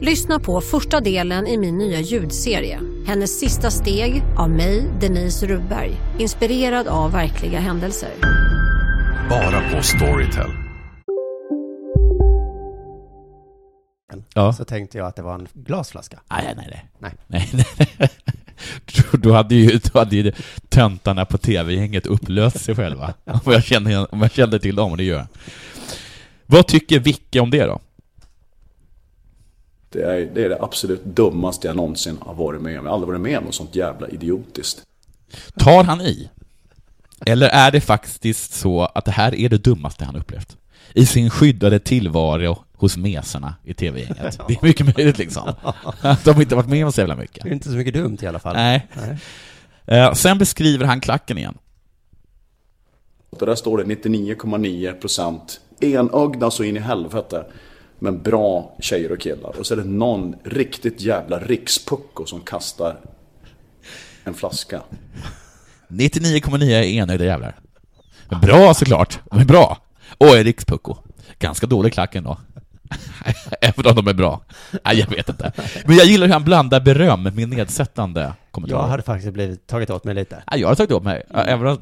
Speaker 7: Lyssna på första delen i min nya ljudserie. Hennes sista steg av mig, Denise Rubberg. Inspirerad av verkliga händelser.
Speaker 4: Bara på Storytel.
Speaker 3: Ja.
Speaker 2: Så tänkte jag att det var en glasflaska.
Speaker 3: Nej, nej, nej.
Speaker 2: Nej.
Speaker 3: nej, nej. då hade ju, då hade ju töntarna på TV-gänget upplöst sig själva. Om jag, kände, igen- om jag kände till dem, och det gör jag. Vad tycker Vicke om det då?
Speaker 5: Det är, det är det absolut dummaste jag någonsin har varit med om. Jag har aldrig varit med om något sånt jävla idiotiskt.
Speaker 3: Tar han i? Eller är det faktiskt så att det här är det dummaste han upplevt? I sin skyddade tillvaro hos mesarna i TV-gänget. Det är mycket möjligt liksom. Att de inte varit med om så jävla mycket.
Speaker 2: Det är inte så mycket dumt i alla fall.
Speaker 3: Nej. Eh, Sen beskriver han klacken igen.
Speaker 5: Och där står det 99,9% enögda så in i helvete. Men bra tjejer och killar. Och så är det någon riktigt jävla rikspucko som kastar en flaska.
Speaker 3: 99,9 är enögda jävlar. Men bra såklart. De är bra. Och är rikspucko. Ganska dålig klack ändå. Även om de är bra. Nej, jag vet inte. Men jag gillar hur han blandar beröm med nedsättande kommentarer.
Speaker 2: Jag hade faktiskt blivit, tagit åt mig lite.
Speaker 3: Ja, jag har tagit åt mig. Ja, Även om...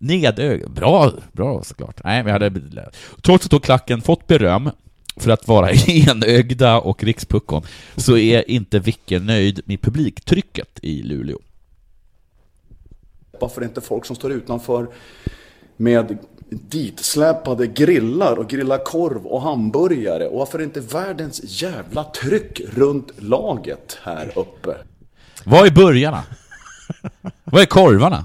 Speaker 3: Nedög... Bra, bra såklart. Nej, men jag hade... Trots att då klacken fått beröm för att vara enögda och rikspuckon, så är inte Vicke nöjd med publiktrycket i Luleå.
Speaker 5: Varför är inte folk som står utanför med ditsläpade grillar och grillar korv och hamburgare? Och varför är inte världens jävla tryck runt laget här uppe?
Speaker 3: Vad är burgarna? Vad är korvarna?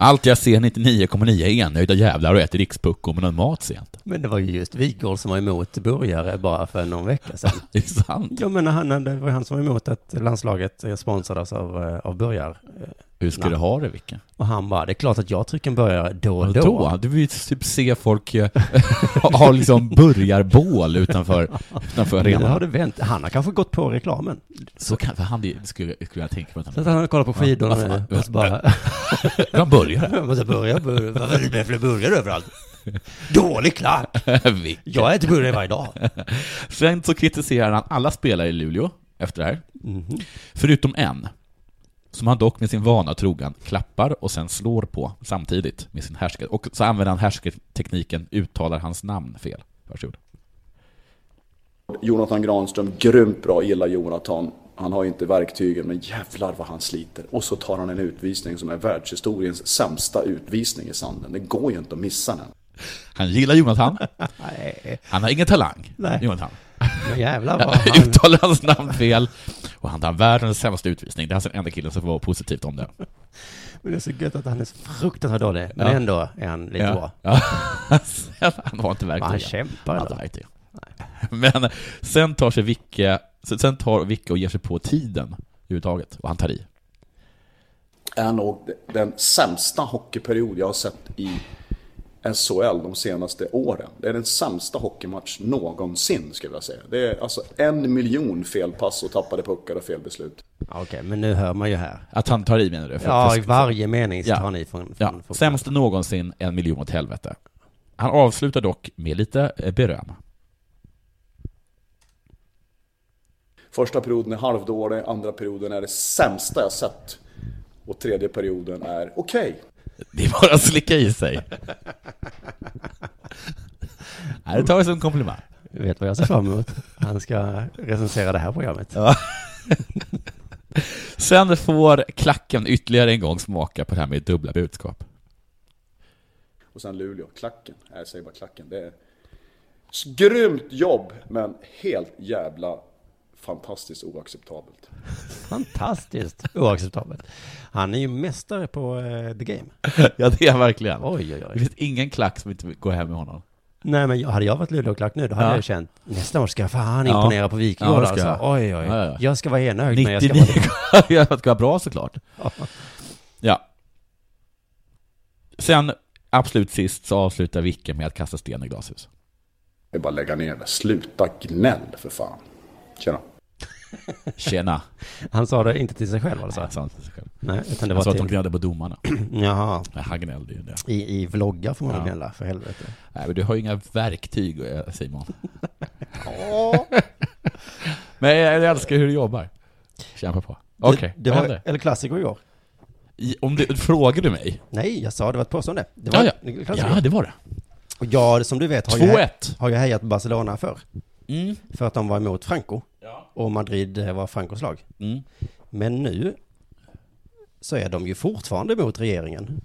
Speaker 3: Allt jag ser 99,9 är enögda jävlar och äter rikspuckon med någon mat sent.
Speaker 2: Men det var ju just Wigård som var emot burgare bara för någon vecka sedan.
Speaker 3: det är sant.
Speaker 2: Ja, men han, det var han som var emot att landslaget eh, sponsrades av, eh, av burgar. eh,
Speaker 3: Hur ska
Speaker 2: namn.
Speaker 3: du ha det, Vicke?
Speaker 2: Och han bara, det är klart att jag trycker en burgare då och
Speaker 3: Och
Speaker 2: då. alltså,
Speaker 3: då? Du vill ju typ se folk eh, ha ha liksom burgarbål utanför, utanför
Speaker 2: Nu
Speaker 3: arenan.
Speaker 2: har det vänt. Han har kanske gått på reklamen.
Speaker 3: Så kan, för han det skulle, skulle jag tänka mig.
Speaker 2: Så att han kollar på skidorna
Speaker 3: Ja,
Speaker 2: nu
Speaker 3: varför-
Speaker 2: och så bara...
Speaker 3: De börjar.
Speaker 2: Och så börjar burgare. Varför är det fler burgare överallt? Dålig klack!
Speaker 3: Vicke.
Speaker 2: Jag äter burgare varje dag.
Speaker 3: Sen så kritiserar han alla spelare i Luleå efter det här. Förutom en. Som han dock med sin vana trogen klappar och sen slår på samtidigt med sin härskare. Och så använder han härskartekniken, uttalar hans namn fel. Varsågod.
Speaker 5: Jonathan Granström, grymt bra, gillar Jonathan. Han har ju inte verktygen, men jävlar vad han sliter. Och så tar han en utvisning som är världshistoriens sämsta utvisning i sanden. Det går ju inte att missa den.
Speaker 3: Han gillar Jonathan. Han har ingen talang,
Speaker 2: Nej.
Speaker 3: Jonathan.
Speaker 2: Men jävlar vad
Speaker 3: Jag
Speaker 2: han...
Speaker 3: uttalar hans namn fel. Och han tar världens sämsta utvisning. Det är alltså den enda killen som får vara positivt om det.
Speaker 2: Men det är så gött att han är så fruktansvärt dålig. Men
Speaker 3: Ja.
Speaker 2: ändå är han lite bra.
Speaker 3: Ja. Sen- han har inte verktyg.
Speaker 2: Han kämpar
Speaker 3: Han
Speaker 2: ändå.
Speaker 3: har verktyg. Men sen tar sig Vicke, sen sen tar Vicke och ger sig på tiden överhuvudtaget. Och han tar i.
Speaker 5: Är nog den sämsta hockeyperiod jag har sett i SHL de senaste åren. Det är den sämsta hockeymatch någonsin, skulle jag säga. Det är alltså en miljon felpass och tappade puckar och felbeslut.
Speaker 2: Ja, Okej, men nu hör man ju här.
Speaker 3: Att han tar i menar du? För-
Speaker 2: Ja,
Speaker 3: för-
Speaker 2: i varje mening så
Speaker 3: Ja.
Speaker 2: tar han i från...
Speaker 3: Ja,
Speaker 2: från, från
Speaker 3: sämst någonsin, en miljon åt helvete. Han avslutar dock med lite eh, beröm.
Speaker 5: Första perioden är halvdålig, andra perioden är det sämsta jag sett. Och tredje perioden är okej.
Speaker 3: Det är bara att slicka i sig. Nej, det tar jag som en komplimang.
Speaker 2: Jag vet vad jag ser fram emot. Han ska recensera det här programmet.
Speaker 3: Sen får klacken ytterligare en gång smaka på det här med dubbla budskap.
Speaker 5: Och sen Luleå, klacken. Nej, jag säger bara klacken. Det är s- grymt jobb, men helt jävla fantastiskt oacceptabelt.
Speaker 2: Fantastiskt oacceptabelt. Han är ju mästare på eh, the game.
Speaker 3: Ja, det är han verkligen.
Speaker 2: Oj, oj,
Speaker 3: Det
Speaker 2: oj.
Speaker 3: finns ingen klack som inte går hem med honom.
Speaker 2: Nej, men jag- hade jag varit Luleåklack nu, då hade
Speaker 3: Ja.
Speaker 2: jag känt nästa år ska jag fan
Speaker 3: Ja.
Speaker 2: imponera på Wikegård
Speaker 3: Ja, det ska
Speaker 2: alltså.
Speaker 3: jag.
Speaker 2: Oj, oj,
Speaker 3: Ja, ja.
Speaker 2: oj. Jag ska vara enögd, men jag ska
Speaker 3: 99
Speaker 2: vara...
Speaker 3: jag ska vara bra såklart. Ja. Sen, absolut sist, så avslutar Vicke med att kasta sten i glashus.
Speaker 5: Det är bara att lägga ner det. Sluta gnäll för fan. Tjena.
Speaker 3: Tjena.
Speaker 2: Han sa det inte till sig själv alltså?
Speaker 3: Han sa inte till sig själv.
Speaker 2: Nej, utan det
Speaker 3: Han sa
Speaker 2: var
Speaker 3: att de
Speaker 2: till...
Speaker 3: gnällde på domarna.
Speaker 2: Jaha.
Speaker 3: Men Han gnällde ju det.
Speaker 2: I, I vloggar får man väl
Speaker 3: Ja.
Speaker 2: gnälla, för helvete.
Speaker 3: Nej, men du har ju inga verktyg, eh, Simon. men jag älskar hur du jobbar. Kämpa på. Okej,
Speaker 2: Det, det
Speaker 3: vad
Speaker 2: var
Speaker 3: händer?
Speaker 2: El Clasico igår.
Speaker 3: I- Om du, frågar du mig?
Speaker 2: Nej, jag sa det var ett påstående. Det var
Speaker 3: Ja, ja.
Speaker 2: El Clasico.
Speaker 3: ja, det var det.
Speaker 2: Och jag, som du vet, har jag,
Speaker 3: 2-1.
Speaker 2: har jag hejat på Barcelona för
Speaker 3: Mm.
Speaker 2: För att de var emot Franco. Och Madrid eh, var Francos lag.
Speaker 3: Mm.
Speaker 2: Men nu så är de ju fortfarande mot regeringen.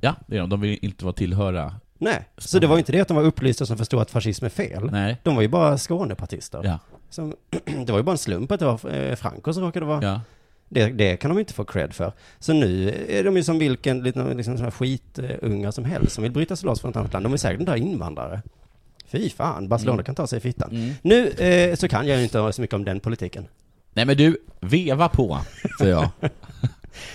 Speaker 3: Ja, det är de. De vill inte vara tillhöra.
Speaker 2: Nej, så det var ju inte det att de var upplysta som förstod att fascism är fel.
Speaker 3: Nej.
Speaker 2: De var ju bara Skånepartister.
Speaker 3: Ja.
Speaker 2: Som, det var ju bara en slump att det var eh, Franco som råkade vara.
Speaker 3: Ja.
Speaker 2: Det, det kan de inte få cred för. Så nu är de ju som vilken liten liksom, sån här skitunga som helst som vill bryta sig loss från ett annat land. De är säkert inte där invandrare. Fy fan, Barcelona
Speaker 3: Mm.
Speaker 2: kan ta sig i fittan.
Speaker 3: Mm.
Speaker 2: Nu eh, så kan jag ju inte så mycket om den politiken.
Speaker 3: Nej men du, veva på, säger jag.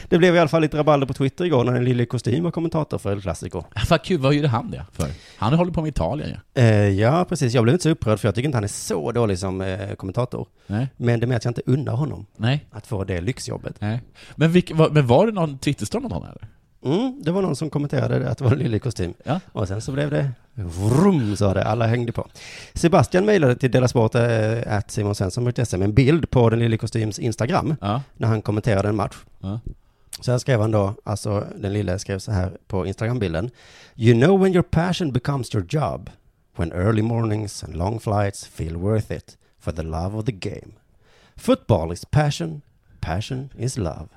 Speaker 2: Det blev i alla fall lite rabalder på Twitter igår när en lille kostym var kommentator för El Clasico.
Speaker 3: Fan kul, vad gjorde han det för? Han håller på med Italien ju.
Speaker 2: Eh, ja, precis. Jag blev inte så upprörd för jag tycker inte han är så dålig som eh, kommentator.
Speaker 3: Nej.
Speaker 2: Men det med att jag inte undrar honom
Speaker 3: Nej.
Speaker 2: att få det lyxjobbet.
Speaker 3: Nej. Men, vilk, var, men var det någon twitterström om honom eller?
Speaker 2: Mm, det var någon som kommenterade det, att det var en lillig kostym.
Speaker 3: Ja.
Speaker 2: Och sen så blev det vrum, sa det. Alla hängde på. Sebastian mejlade till delasport, eh, at simonsvensson.se med en bild på den lille kostyms Instagram
Speaker 3: Ja.
Speaker 2: när han kommenterade en match.
Speaker 3: Ja.
Speaker 2: Så här skrev han då, alltså den lille skrev så här på Instagram-bilden. You know when your passion becomes your job. When early mornings and long flights feel worth it. For the love of the game. Football is passion. Passion is love.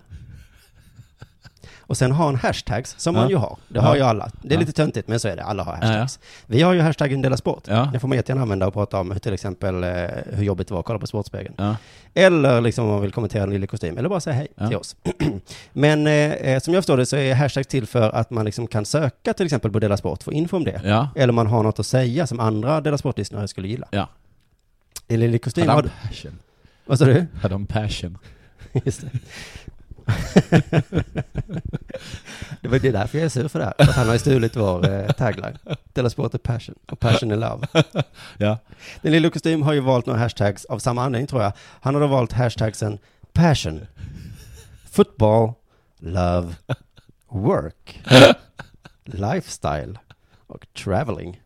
Speaker 2: Och sen har han hashtags, som
Speaker 3: Ja.
Speaker 2: man ju har. Det har
Speaker 3: Ja.
Speaker 2: ju alla. Det är
Speaker 3: Ja.
Speaker 2: lite töntigt, men så är det. Alla har
Speaker 3: Ja, ja.
Speaker 2: hashtags. Vi har ju hashtaggen Dela Sport.
Speaker 3: Ja.
Speaker 2: Den får man jättegärna använda och prata om hur till exempel eh, hur jobbigt det var att kolla på Sportspegeln.
Speaker 3: Ja.
Speaker 2: Eller liksom om man vill kommentera en lille kostym, eller bara säga hej
Speaker 3: Ja.
Speaker 2: till oss. Men eh, eh, som jag förstår det så är hashtag till för att man liksom kan söka till exempel på Dela Sport, få info om det.
Speaker 3: Ja.
Speaker 2: Eller man har något att säga som andra Dela Sport-lyssnare skulle gilla.
Speaker 3: Ja.
Speaker 2: En lille kostym,
Speaker 3: Hade
Speaker 2: har
Speaker 3: han
Speaker 2: du,
Speaker 3: passion?
Speaker 2: vad sa du?
Speaker 3: Hade han passion?
Speaker 2: Just det. det var ju därför jag är sur för det här. För att han har ju stulit vår eh, tagline. Dela Sport är passion, och passion är love.
Speaker 3: Ja.
Speaker 2: Den lilla kostym har ju valt några hashtags av samma anledning tror jag. Han har då valt hashtagsen passion, football, love, work, lifestyle och traveling.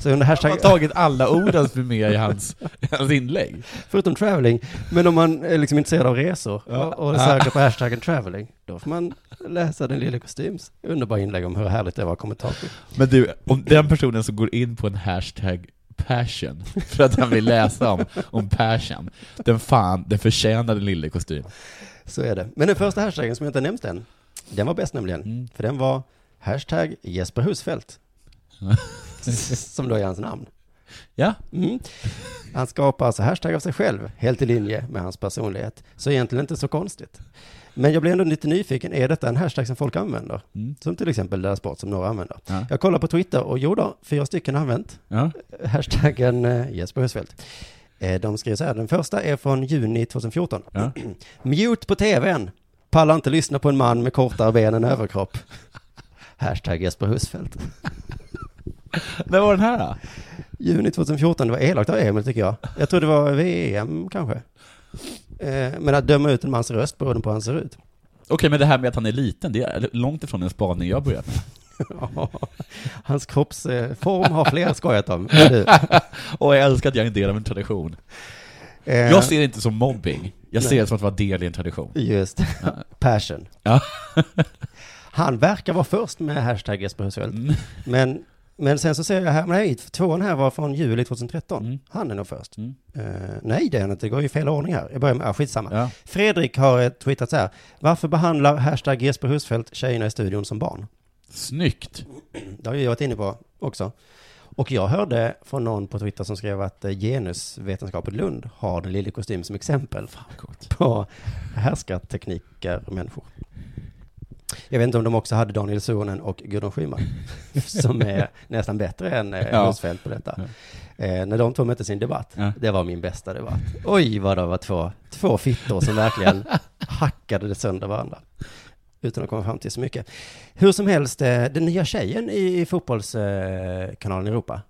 Speaker 2: Så under
Speaker 3: Han har
Speaker 2: hashtag,
Speaker 3: tagit alla orden som är med i hans, i hans inlägg.
Speaker 2: förutom traveling, men om man är liksom intresserad av resor och, och söker på hashtaggen traveling, då får man läsa den lilla kostyms underbara inlägg om hur härligt det var kommentator.
Speaker 3: Men du, om den personen som går in på en hashtag passion, för att han vill läsa om, om passion, den fan, den förtjänar den lille kostym.
Speaker 2: Så är det. Men den första hashtaggen som jag inte nämnt än, den var bäst nämligen. För den var hashtag Jesper Husfeldt. som då är hans namn.
Speaker 3: Ja,
Speaker 2: Mm. Han skapar alltså hashtag av sig själv, helt i linje med hans personlighet. Så egentligen inte så konstigt. Men jag blir ändå lite nyfiken, är detta en hashtag som folk använder? Som till exempel deras sport som några använder.
Speaker 3: Ja.
Speaker 2: Jag kollar på Twitter och jo då, fyra stycken har använt
Speaker 3: ja,
Speaker 2: hashtaggen eh, Jesper Husfeldt. Eh, De skriver så här, den första är från juni 2014.
Speaker 3: ja.
Speaker 2: Mute på tvn. Pallar inte lyssna på en man med kortare ben än överkropp. Hashtag Jesper Husfeldt.
Speaker 3: När var den här då?
Speaker 2: Juni 2014, det var elakt av Emil tycker jag. Jag tror det var VM kanske. Eh, Men att döma ut en mans röst beroende på hur han ser ut.
Speaker 3: Okej, men det här med att han är liten, det är långt ifrån en spaning jag börjat med.
Speaker 2: Ja, Hans kroppsform har fler skojat om. än du.
Speaker 3: Och jag älskar att jag är en del av en tradition.
Speaker 2: Eh,
Speaker 3: Jag ser det inte som mobbing, jag ser det som att vara del i en tradition.
Speaker 2: Just passion.
Speaker 3: Ja.
Speaker 2: Han verkar vara först med hashtag Jesper Husfeldt.
Speaker 3: Mm.
Speaker 2: Men, men sen så ser jag här, nej, tvåan här var från juli 2013.
Speaker 3: Mm.
Speaker 2: Han är nog först. Eh, nej, det är han inte. Det går ju i fel ordning här. Jag börjar med, ah, skitsamma.
Speaker 3: Ja.
Speaker 2: Fredrik har eh, twittrat så här. Varför behandlar hashtag Jesper Husfeldt tjejerna i studion som barn?
Speaker 3: Snyggt!
Speaker 2: Det har ju jag varit inne på också. Och jag hörde från någon på Twitter som skrev att eh, genusvetenskapen i Lund har den lille kostym som exempel
Speaker 3: coolt.
Speaker 2: på härskartekniker och människor. Jag vet inte om de också hade Daniel Suhonen och Gudrun Schyman, som är nästan bättre än
Speaker 3: Ja.
Speaker 2: ja. Husfeldt på detta. Eh, när de två mötte sin debatt,
Speaker 3: Ja.
Speaker 2: det var min bästa debatt. Oj, vad det var två, två fittor som verkligen hackade det sönder varandra. Utan att komma fram till så mycket. Hur som helst, eh, den nya tjejen i fotbollskanalen Europa.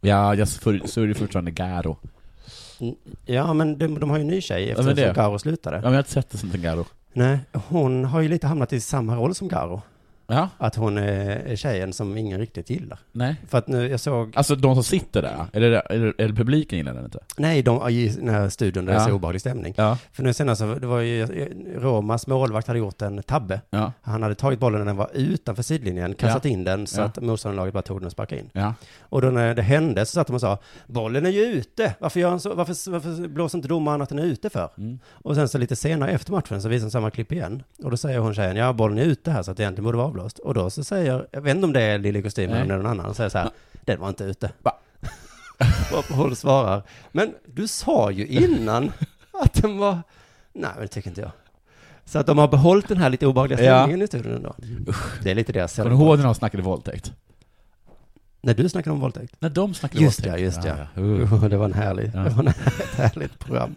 Speaker 3: Ja, jag för, så är det fortfarande Garo.
Speaker 2: Ja, men de, de har ju en ny tjej efter
Speaker 3: men det-
Speaker 2: att Garo
Speaker 3: Ja,
Speaker 2: slutade.
Speaker 3: men jag har inte sett det som en Garo.
Speaker 2: Nej, hon har ju lite hamnat i samma roll som Garo. Att hon är tjejen som ingen riktigt gillar.
Speaker 3: Nej.
Speaker 2: För att nu, jag såg...
Speaker 3: Alltså de som sitter där, eller, eller, eller publiken gillar den inte?
Speaker 2: Nej, de, i den här studion där det är
Speaker 3: Ja.
Speaker 2: så obehaglig stämning.
Speaker 3: Ja.
Speaker 2: För nu senast, så- det var ju eh, Romas målvakt hade gjort en tabbe.
Speaker 3: Ja.
Speaker 2: Han hade tagit bollen när den var utanför sidlinjen, kastat
Speaker 3: Ja.
Speaker 2: in den så
Speaker 3: Ja.
Speaker 2: att motståndarlaget bara tog den och sparkade in.
Speaker 3: Ja.
Speaker 2: Och då när det hände så satt de och sa, bollen är ju ute, varför, gör han så, varför, varför blåser inte domaren att den är ute för?
Speaker 3: Mm.
Speaker 2: Och sen så lite senare efter matchen så visar de samma klipp igen. Och då säger hon tjejen, ja bollen är ute här så att det egentligen borde vara avblåst. Och då så säger, jag vet inte om det är Lili Kostym
Speaker 3: Nej.
Speaker 2: eller någon annan, säger så här, den var inte ute. Varpå hon svarar, men du sa ju innan att den var, nej men det tycker inte jag. Så att de har behållit den här lite obehagliga
Speaker 3: Ja.
Speaker 2: stämningen i studion ändå. Det är lite deras
Speaker 3: Kommer du ihåg när de snackade våldtäkt?
Speaker 2: när du snackade om våldtäkt?
Speaker 3: När de snackade
Speaker 2: Just det,
Speaker 3: våldtäkt.
Speaker 2: just det.
Speaker 3: Ja, Uh.
Speaker 2: Oh, det var en härlig, det var en, ett härligt program.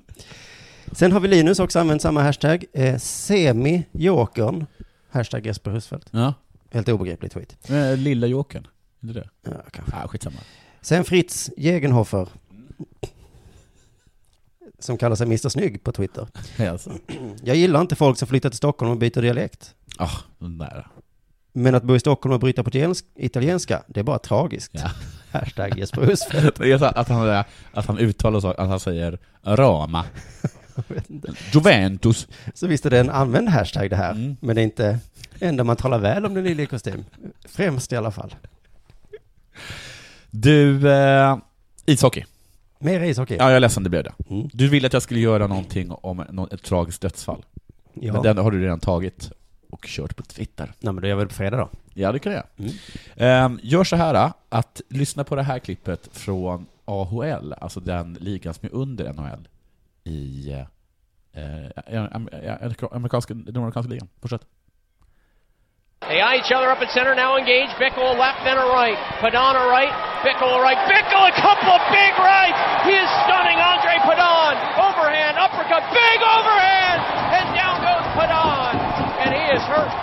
Speaker 2: Sen har vi Linus också använt samma hashtag, eh, semi-jokern, hashtag Jesper Husfeldt.
Speaker 3: Ja.
Speaker 2: Helt obegriplig tweet.
Speaker 3: Men, eh, Lilla Jokern, är det det?
Speaker 2: Ja, kanske.
Speaker 3: Ah, skitsamma.
Speaker 2: Sen Fritz Jegenhofer, som kallar sig Mr Snygg på Twitter.
Speaker 3: Ja, Alltså.
Speaker 2: Jag gillar inte folk som flyttar till Stockholm och byter dialekt.
Speaker 3: Ah, den där.
Speaker 2: Men att bo i Stockholm och bryta på italiensk- italienska, det är bara tragiskt. Hashtag Jesper Husfeldt.
Speaker 3: Det är så att han, att han uttalar saker, att han säger Rama. Juventus.
Speaker 2: Så visst är det en använd hashtag det här,
Speaker 3: Mm.
Speaker 2: men det är inte ändå man talar väl om den lille i kostym. Främst i alla fall.
Speaker 3: Du, eh, ishockey.
Speaker 2: Mer ishockey.
Speaker 3: Ja, jag är ledsen, det blev det.
Speaker 2: Mm.
Speaker 3: Du ville att jag skulle göra någonting om nå- ett tragiskt dödsfall.
Speaker 2: Ja.
Speaker 3: Men den har du redan tagit och kört på Twitter.
Speaker 2: Nej, men det gör vi på fredag då.
Speaker 3: Ja, det kan jag
Speaker 2: Mm.
Speaker 3: Ehm, Gör så här, eh, att lyssna på det här klippet från AHL, alltså den ligan som är under NHL i eh, eh, am- eh, amerikanska, den amerikanska ligan. Fortsätt.
Speaker 8: They eye each other up at center, now engage. Bickle left, then a right. Padon a right, Bickle a right. Bickle, a couple of big rights. He is stunning Andre Padon. Overhand, uppercut, big overhand. And down goes Padon. And he is hurt.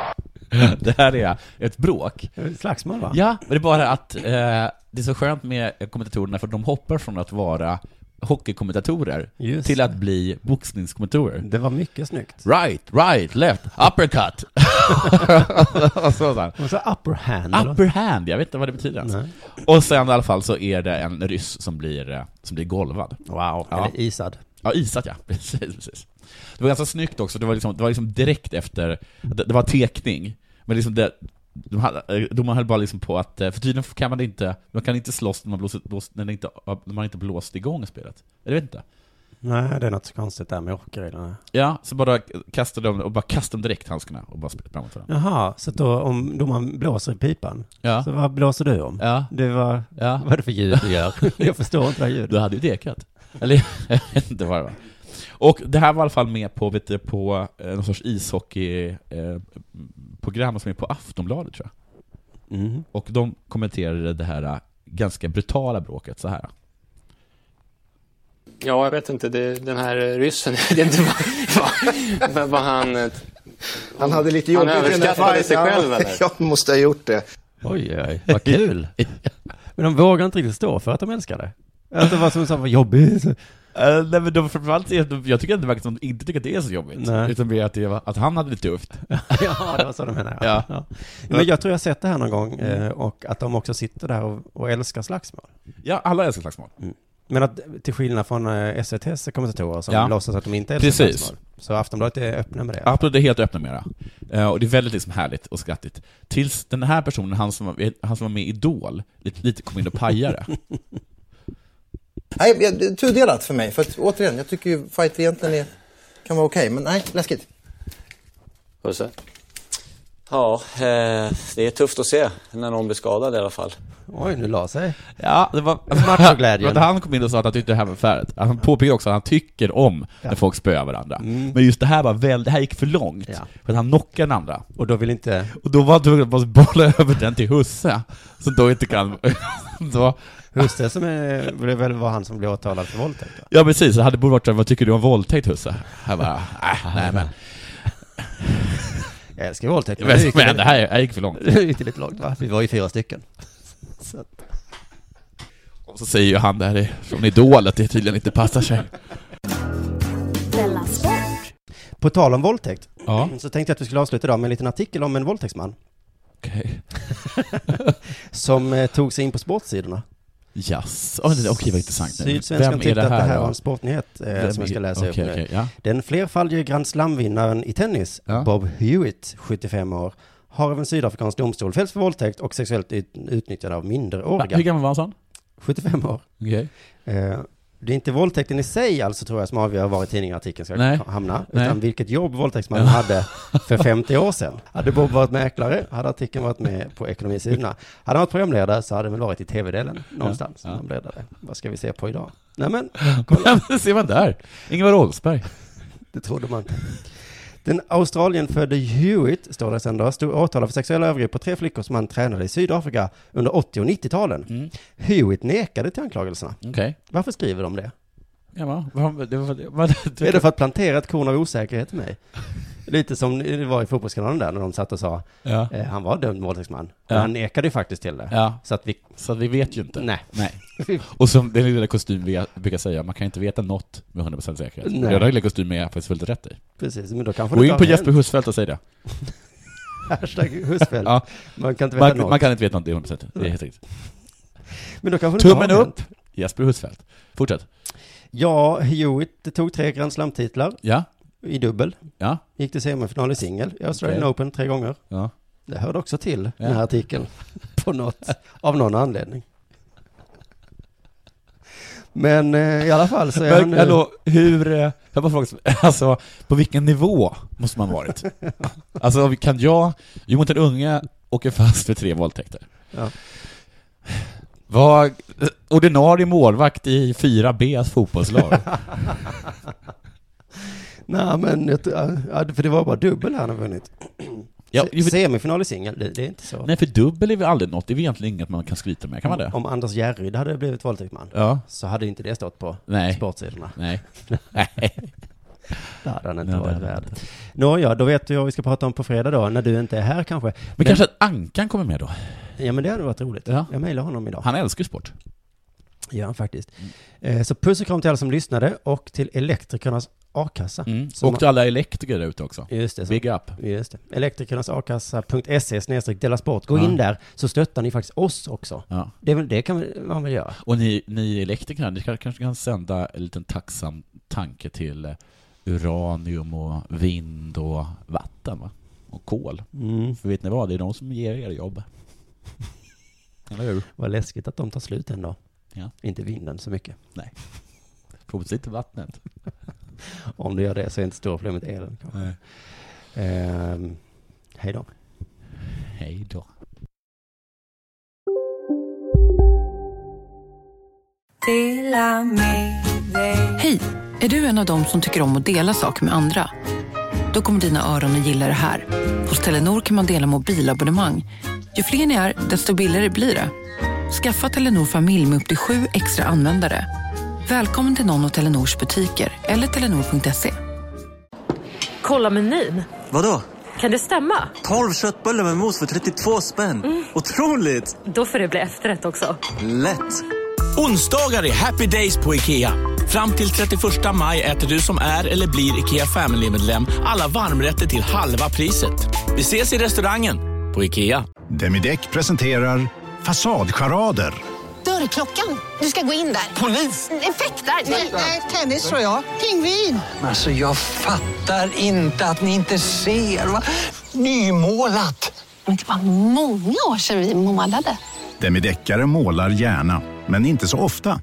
Speaker 3: Det här är ett bråk.
Speaker 2: Slagsmål va?
Speaker 3: Ja, men det är bara att eh, det är så skönt med kommentatorerna för de hoppar från att vara hockeykommentatorer
Speaker 2: Just
Speaker 3: till att bli boxningskommentatorer.
Speaker 2: Det var mycket snyggt.
Speaker 3: Right, right, left, uppercut. och så, så här.
Speaker 2: Och så upper hand. eller?
Speaker 3: Upper hand, jag vet inte vad det betyder ens.
Speaker 2: Nej.
Speaker 3: Och sen i alla fall så är det en ryss som blir, eh, som blir golvad.
Speaker 2: Wow,
Speaker 3: Ja.
Speaker 2: eller isad.
Speaker 3: Ja, isat ja. Precis, precis. Det var ganska snyggt också, det var liksom, det var liksom direkt efter, det, det var tekning, men liksom det, de hade, eh, domaren höll bara liksom på att, eh, för tydligen kan man inte, man kan inte slåss när man, blåser, blås, när det inte, när man inte blåst igång spelet. Jag vet inte.
Speaker 2: Nej, det är något konstigt där med hockeyreglerna.
Speaker 3: Ja, så bara kastade de, och bara kastade de direkt handskarna och bara spelade framåt varandra.
Speaker 2: Jaha, så då om då man blåser i pipan,
Speaker 3: Ja.
Speaker 2: så vad blåser du om?
Speaker 3: Ja.
Speaker 2: Det var,
Speaker 3: Ja.
Speaker 2: vad är det för ljud du gör? jag förstår inte det här
Speaker 3: Du
Speaker 2: ljudet.
Speaker 3: hade ju dekat. Eller jag vet inte vad det var. Och det här var i alla fall med på, vet du, på eh, någon sorts ishockeyprogram som är på Aftonbladet tror jag.
Speaker 2: Mm.
Speaker 3: Och de kommenterade det här eh, ganska brutala bråket så här.
Speaker 9: Ja, jag vet inte. Det, den här eh, ryssen, jag vet inte vad, vad, vad han... eh,
Speaker 10: Han hade lite
Speaker 9: Han
Speaker 10: jobbigt i den här
Speaker 9: överskattade sig
Speaker 10: fighten.
Speaker 9: själv, eller?
Speaker 10: Jag måste ha gjort det.
Speaker 2: Oj, oj, vad kul. men de vågar inte riktigt stå för att de älskar det. Att det var som så, vad jobbigt.
Speaker 3: Eh, nej men de, framförallt, är de- jag tycker att det verkar som de inte tycker att det är så jobbigt.
Speaker 2: Nej.
Speaker 3: Utan mer att, det var, att han hade det tufft.
Speaker 2: ja, det var så de menade. Ja. Ja. Men jag tror jag har sett det här någon gång
Speaker 3: Mm.
Speaker 2: eh, och att de också sitter där och, och älskar slagsmål.
Speaker 3: Ja, alla älskar slagsmål.
Speaker 2: Mm. Men att till skillnad från eh, SVTs kommentatorer som
Speaker 3: Ja.
Speaker 2: låtsas att de inte älskar
Speaker 3: Precis.
Speaker 2: slagsmål. Så Aftonbladet är öppna med det.
Speaker 3: Absolut, det är helt öppna mera. Eh, och det är väldigt liksom härligt och skrattigt. Tills den här personen, han som, var- han som var med i Idol, lite, lite kom in och pajade.
Speaker 11: Nej, jag- det är tudelat för mig. För att, återigen, jag tycker ju fighter egentligen är, kan vara okej, men nej, läskigt.
Speaker 12: Pusse? Ja, eh, det är tufft att se när någon blir skadad i alla fall.
Speaker 2: Oj, nu la sig.
Speaker 3: Ja, det var
Speaker 2: Alltså, Machoglädjen.
Speaker 3: Men han kom in och sa att han tyckte det här var färdigt. Han påpekade också att han tycker om när folk spöar varandra.
Speaker 2: Mm.
Speaker 3: Men just det här var väl, det här gick för långt. För att han knockade den andra.
Speaker 2: Och då vill inte...
Speaker 3: Och då var han tvungen att bara bolla över den till husse. Som då inte kan... då,
Speaker 2: Husse som är, det väl var han som blev åtalad för våldtäkt? va?
Speaker 3: ja precis, det hade borde varit så här, vad tycker du om våldtäkt husse? Han bara, "Äh, nej men.
Speaker 2: Jag älskar våldtäkt.
Speaker 3: Men-
Speaker 2: gick
Speaker 3: men
Speaker 2: lite-
Speaker 3: det här- det här gick för långt.
Speaker 2: Det gick lite långt va? Vi var ju fyra stycken. Så att-
Speaker 3: Och så säger ju han där från Idol att det tydligen inte passar sig.
Speaker 1: Della Sport.
Speaker 2: På tal om våldtäkt,
Speaker 3: Ja.
Speaker 2: så tänkte jag att vi skulle avsluta idag med en liten artikel om en våldtäktsman.
Speaker 3: Okej.
Speaker 2: som eh, tog sig in på sportsidorna.
Speaker 3: Yes. Oh, det- okej, vad intressant nu.
Speaker 2: Sydsvenskan
Speaker 3: Vem är
Speaker 2: tyckte
Speaker 3: det
Speaker 2: att det
Speaker 3: här
Speaker 2: här
Speaker 3: då?
Speaker 2: var en sportnyhet eh,
Speaker 3: Vem
Speaker 2: som jag
Speaker 3: är-
Speaker 2: ska läsa
Speaker 3: okej,
Speaker 2: upp nu.
Speaker 3: okej, ja.
Speaker 2: Den flerfaldige Grand Slam-vinnaren i tennis, Bob Hewitt, 75 år, har av en sydafrikansk domstol fällts för våldtäkt och sexuellt ut- utnyttjande av
Speaker 3: Va,
Speaker 2: minderåriga.
Speaker 3: hur gammal var han?
Speaker 2: 75 år.
Speaker 3: Okej.
Speaker 2: Eh, Det är inte våldtäkten i sig alltså tror jag som avgör var i tidningartikeln ska
Speaker 3: Nej.
Speaker 2: hamna,
Speaker 3: Nej.
Speaker 2: utan vilket jobb våldtäktsmannen hade för 50 år sedan. Hade Bob varit mäklare, hade artikeln varit med på ekonomisidorna. Hade han varit programledare så hade han väl varit i tv-delen någonstans. som programledare. Vad ska vi se på idag? Nej men, kolla.
Speaker 3: ser man där. Ingvar Oldsberg.
Speaker 2: Det trodde man inte. Den Australienfödde Hewitt, står det sen då, stod åtalad för sexuella övergrepp på tre flickor som han tränade i Sydafrika under 80 och 90-talen.
Speaker 3: Mm.
Speaker 2: Hewitt nekade till anklagelserna.
Speaker 3: Okej.
Speaker 2: Varför skriver de det?
Speaker 3: Ja, va? Vad- det var- det var-
Speaker 2: Är det för att plantera ett korn av osäkerhet i mig? Lite som det var i Fotbollskanalen där när de satt och sa
Speaker 3: Ja.
Speaker 2: eh, han var dömd våldtäktsman.
Speaker 3: Ja.
Speaker 2: Men han nekade ju faktiskt till det.
Speaker 3: Ja.
Speaker 2: Så att vi...
Speaker 3: Så vi vet ju inte.
Speaker 2: Nej.
Speaker 3: Nej. Och som den lilla kostym vi brukar säga, man kan inte veta något med 100% säkerhet.
Speaker 2: Nej.
Speaker 3: Nej. Den lilla kostymen är jag faktiskt fullt rätt i.
Speaker 2: Precis, men då kanske
Speaker 3: Gå
Speaker 2: det
Speaker 3: in
Speaker 2: tar
Speaker 3: på
Speaker 2: igen.
Speaker 3: Jesper Husfeldt och säg det.
Speaker 2: Hashtag Husfeldt.
Speaker 3: Ja.
Speaker 2: Man kan inte veta
Speaker 3: man,
Speaker 2: något.
Speaker 3: man kan inte veta något, det är 100%. Det är helt riktigt.
Speaker 2: Men då kanske det
Speaker 3: Tummen
Speaker 2: inte har
Speaker 3: upp! Jesper Husfeldt. Fortsätt.
Speaker 2: Ja, Hewitt tog tre Grand Slam-titlar.
Speaker 3: Ja.
Speaker 2: I dubbel.
Speaker 3: Ja.
Speaker 2: Gick till semifinal i singel i Australian
Speaker 3: Okej.
Speaker 2: Open tre gånger.
Speaker 3: Ja.
Speaker 2: Det hörde också till
Speaker 3: Ja.
Speaker 2: den här artikeln. På något, av någon anledning. Men eh, i alla fall så är
Speaker 3: Men,
Speaker 2: han nu...
Speaker 3: Hallå, hur... eh, Jag bara frågar, alltså, på vilken nivå måste man ha varit? alltså, kan jag... Jo, mot en unge åker fast för tre våldtäkter.
Speaker 2: Ja.
Speaker 3: Var ordinarie målvakt i 4Bs fotbollslag.
Speaker 2: Nej men, jag tror- ja, för det var bara dubbel han har vunnit.
Speaker 3: Ja,
Speaker 2: Se-
Speaker 3: ju-
Speaker 2: Semifinal i singel, det, det är inte så.
Speaker 3: Nej, för dubbel är väl aldrig något. Det är väl egentligen inget man kan skryta med, kan man det?
Speaker 2: Om Anders Järryd hade blivit våldtäktsman,
Speaker 3: Ja.
Speaker 2: så hade inte det stått på
Speaker 3: Nej.
Speaker 2: sportsidorna.
Speaker 3: Nej.
Speaker 2: det hade han inte
Speaker 3: Nej, det
Speaker 2: varit
Speaker 3: hade han
Speaker 2: värd. Nåja, då vet du vad vi ska prata om på fredag då, när du inte är här kanske. Men,
Speaker 3: kanske att Ankan kommer med då?
Speaker 2: Ja men det hade varit roligt. Jag mejlade honom idag.
Speaker 3: Han älskar ju sport.
Speaker 2: Ja, faktiskt. Eh, Så puss och kram till alla som lyssnade och till elektrikernas a-kassa. Som-
Speaker 3: Mm. Och till alla elektriker där ute också.
Speaker 2: Just det.
Speaker 3: Big up.
Speaker 2: Just det. Elektrikernas snedstreck dela sport. Gå
Speaker 3: Ja.
Speaker 2: in där så stöttar ni faktiskt oss också.
Speaker 3: Ja.
Speaker 2: Det, är väl- det kan man väl göra.
Speaker 3: Och ni, ni elektriker, ni kan- kanske kan sända en liten tacksam tanke till eh, uranium och vind och vatten va? Och kol.
Speaker 2: Mm.
Speaker 3: För vet ni vad? Det är de som ger er jobb. Eller hur?
Speaker 2: Vad läskigt att de tar slut en dag.
Speaker 3: Ja.
Speaker 2: Inte vinden så mycket.
Speaker 3: Nej. Provis inte vattnet.
Speaker 2: Om du gör det så är inte stora problemet elen kanske. Ehm, hej då.
Speaker 3: Hej då.
Speaker 13: Hej! Är du en av dem som tycker om att dela saker med andra? Då kommer dina öron att gilla det här. Hos Telenor kan man dela mobilabonnemang. Ju fler ni är, desto billigare blir det. Skaffa Telenor familj med upp till sju extra användare. Välkommen till någon av Telenors butiker eller telenor.se.
Speaker 14: Kolla menyn.
Speaker 15: Vadå?
Speaker 14: Kan det stämma?
Speaker 15: 12 köttbullar med mos för 32 spänn. Otroligt!
Speaker 14: Då får det bli efterrätt också.
Speaker 15: Lätt!
Speaker 16: Onsdagar är happy days på IKEA. Fram till 31 maj äter du som är eller blir IKEA Family-medlem alla varmrätter till halva priset. Vi ses i restaurangen på IKEA.
Speaker 17: Demideck presenterar Fasadcharader.
Speaker 18: Dörrklockan. Du ska gå in där. Polis? Effektar? Nej, tennis tror jag. Pingvin.
Speaker 19: Alltså jag fattar inte att ni inte ser. Va? Nymålat!
Speaker 18: Men det var många år sedan vi målade.
Speaker 17: Demideckare målar gärna, men inte så ofta.